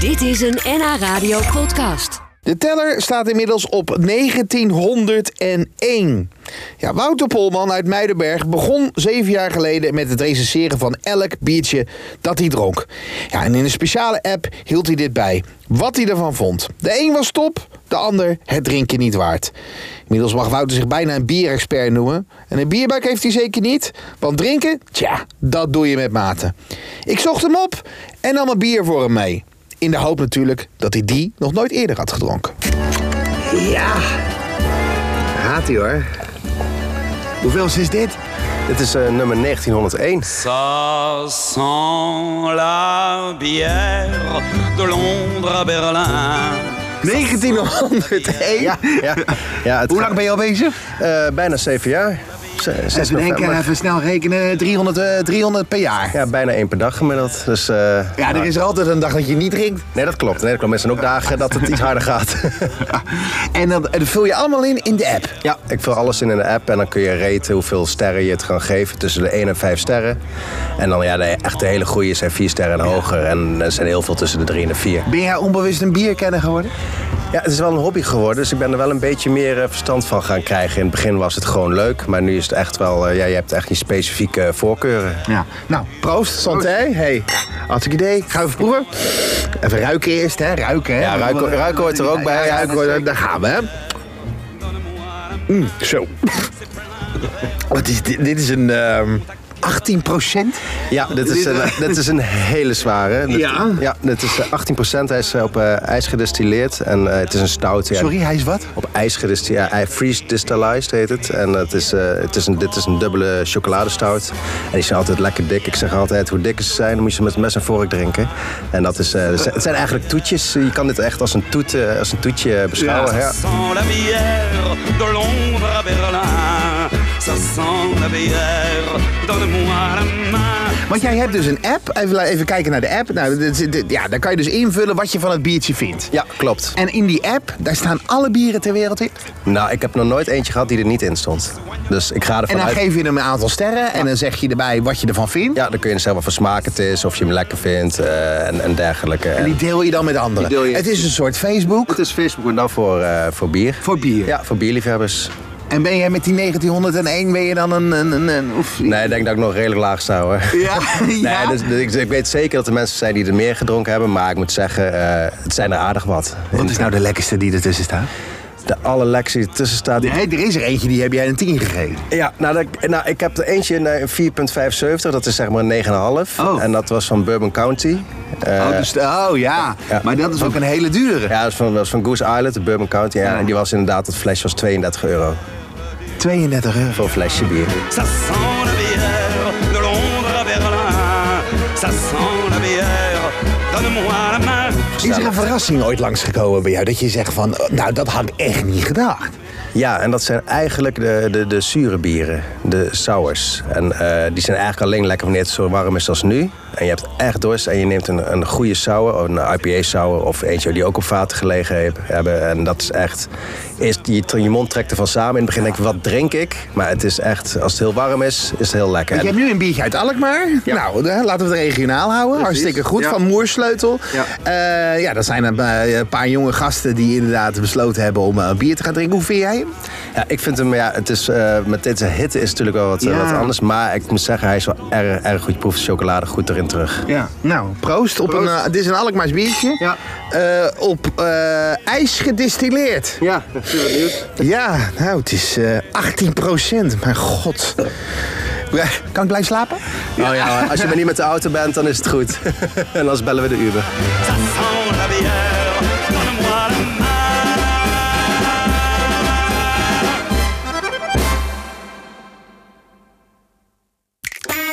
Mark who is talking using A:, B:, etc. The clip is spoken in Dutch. A: Dit is een NH Radio podcast.
B: De teller staat inmiddels op 1901. Ja, Wouter Polman uit Muidenberg begon zeven jaar geleden met het recenseren van elk biertje dat hij dronk. Ja, en in een speciale app hield hij dit bij, wat hij ervan vond. De een was top, de ander het drinken niet waard. Inmiddels mag Wouter zich bijna een bierexpert noemen. En een bierbuik heeft hij zeker niet, want drinken, tja, dat doe je met mate. Ik zocht hem op en nam een bier voor hem mee. In de hoop natuurlijk dat hij die nog nooit eerder had gedronken.
C: Ja. Gaat ie hoor. Hoeveel is dit? Dit is eh, nummer 1901.
D: Ça sent la bière de Londres à Berlin.
B: 1901?
C: Ja, ja, ja het
B: Hoe
C: gaat-
B: lang ben je al bezig?
C: Eh, bijna zeven jaar. Z- zes
B: Even denken,
C: november.
B: even snel rekenen. 300, eh, 300 per jaar.
C: Ja, bijna één per dag gemiddeld. Dus, eh,
B: Ja, er is er altijd een dag dat je niet drinkt.
C: Nee, dat klopt. Nee, dat klopt. Er zijn ook dagen dat het iets harder gaat.
B: En dan, en dat vul je allemaal in in de app.
C: ja, ik vul alles in in de app en dan kun je raten hoeveel sterren je het kan geven. Tussen de 1 en 5 sterren. En dan, ja, de echte hele goede zijn 4 sterren en hoger. En er zijn heel veel tussen de 3 en de 4.
B: Ben jij onbewust een bierkenner geworden?
C: Ja, het is wel een hobby geworden, dus ik ben er wel een beetje meer eh, verstand van gaan krijgen. In het begin was het gewoon leuk, maar nu is het echt wel... eh, ja, je hebt echt je specifieke eh, voorkeuren.
B: Ja. Nou,
C: Proost, santé. Hey, hartstikke idee.
B: gaan we even proeven. Even ruiken eerst, hè? Ruiken, hè?
C: Ja, ruiken- ruiken hoort er ook bij.
B: Ja, ja, ruiken hoort er-
C: Zeker.
B: daar gaan we, hè? Mm, zo. Wat is dit? Dit is een... ehm 18 procent?
C: Ja, dit is een, dit is een hele zware. Dit-
B: Ja?
C: Ja, dit is eh, 18%. Hij is eh, op eh, ijs gedistilleerd en eh, het is een stout. ja.
B: Sorry, hij is wat?
C: Op ijs gedistilleerd. Ja, hij freeze distillized heet het. En het is, eh, het is een, dit is een dubbele chocoladestout. En die zijn altijd lekker dik. Ik zeg altijd, hoe dikker ze zijn, dan moet je ze met mes en vork drinken. En dat is, eh, het zijn eigenlijk toetjes. Je kan dit echt als een, toet, eh, als een toetje beschouwen.
B: Ja.
C: ja.
D: Sent la bière de Londres à Berlin. Ça sent la bière, donne-moi la main.
B: Want jij hebt dus een app. Even, la- even kijken naar de app. Nou, dit, is- dit- ja, daar kan je dus invullen wat je van het biertje vindt.
C: Ja, klopt.
B: En in die app, daar staan alle bieren ter wereld in.
C: Nou, ik heb nog nooit eentje gehad die er niet in stond. Dus ik ga ervan
B: En dan
C: uit...
B: geef je hem een aantal sterren. En dan zeg je erbij wat je ervan vindt.
C: Ja, dan kun je zelf wat voor smaak het is, of je hem lekker vindt eh, en, en dergelijke.
B: En die
C: En
B: deel je dan met anderen.
C: Die deel je-
B: Het is een soort Facebook.
C: het is Facebook en dan voor, eh, voor bier.
B: Voor bier.
C: Ja, voor bierliefhebbers.
B: En ben jij met die 1901 ben je dan een. een, een, een oef,
C: Nee, ik denk dat ik nog redelijk laag sta hoor.
B: Ja, ja.
C: Nee, dus, dus ik, ik weet zeker dat er mensen zijn die er meer gedronken hebben, maar ik moet zeggen, eh, het zijn er aardig wat.
B: Wat is nou de lekkerste die ertussen staat?
C: De allerlekste die ertussen staat. die-
B: Nee, er is er eentje die heb jij een 10 gegeven.
C: Ja, nou, dat- nou, ik heb er eentje in eh, 4,75, dat is zeg maar een 9,5.
B: Oh.
C: En dat was van Bourbon County. Eh,
B: oh, dus- oh ja.
C: ja.
B: maar dat is ook een hele dure.
C: Ja, dat was van, was van Goose Island, de Bourbon County. Ja, En die was inderdaad, dat flesje was 32 euro
B: 32 euro.
C: voor een flesje bier.
D: Ça sent la bière de Londres à Berlin. Ça sent la bière, donne-moi la main.
B: Is er een verrassing ooit langsgekomen bij jou dat je zegt van, oh, nou dat had ik echt niet gedacht.
C: Ja, en dat zijn eigenlijk de, de, de zure bieren, de sours. En eh, die zijn eigenlijk alleen lekker wanneer het zo warm is als nu. En je hebt echt dorst en je neemt een, een goede sour, of een IPA-sour... of eentje die ook op vaten gelegen heb- hebben. En dat is echt... Eerst, je, je mond trekt ervan samen. In het begin denk je, wat drink ik? Maar het is echt, als het heel warm is, is het heel lekker.
B: Je
C: En-
B: hebt nu een biertje uit Alkmaar. Nou, hè, laten we het regionaal houden. Hartstikke goed.
C: Ja.
B: Van Moersleutel. Ja, ja dat zijn een pa- een paar jonge gasten die inderdaad besloten hebben om eh, een bier te gaan drinken. Hoe vind jij hem?
C: Ja, ik vind hem, ja, het is, eh, met deze hitte is het natuurlijk wel wat, eh,
B: Ja.
C: wat anders. Maar ik moet zeggen, hij is wel erg, erg goed. Je proeft de chocolade goed erin terug.
B: Ja. Nou, proost. Op Een, eh, dit is een Alkmaars biertje.
C: Ja.
B: Eh, op eh, ijs gedistilleerd.
C: Ja, dat is benieuwd.
B: Ja, nou, het is eh 18 Mijn god. Kan ik blijven slapen?
C: Oh ja, als je maar niet met de auto bent, dan is het goed. en anders bellen we de Uber.
D: Ça sent la bière, donne-moi la main.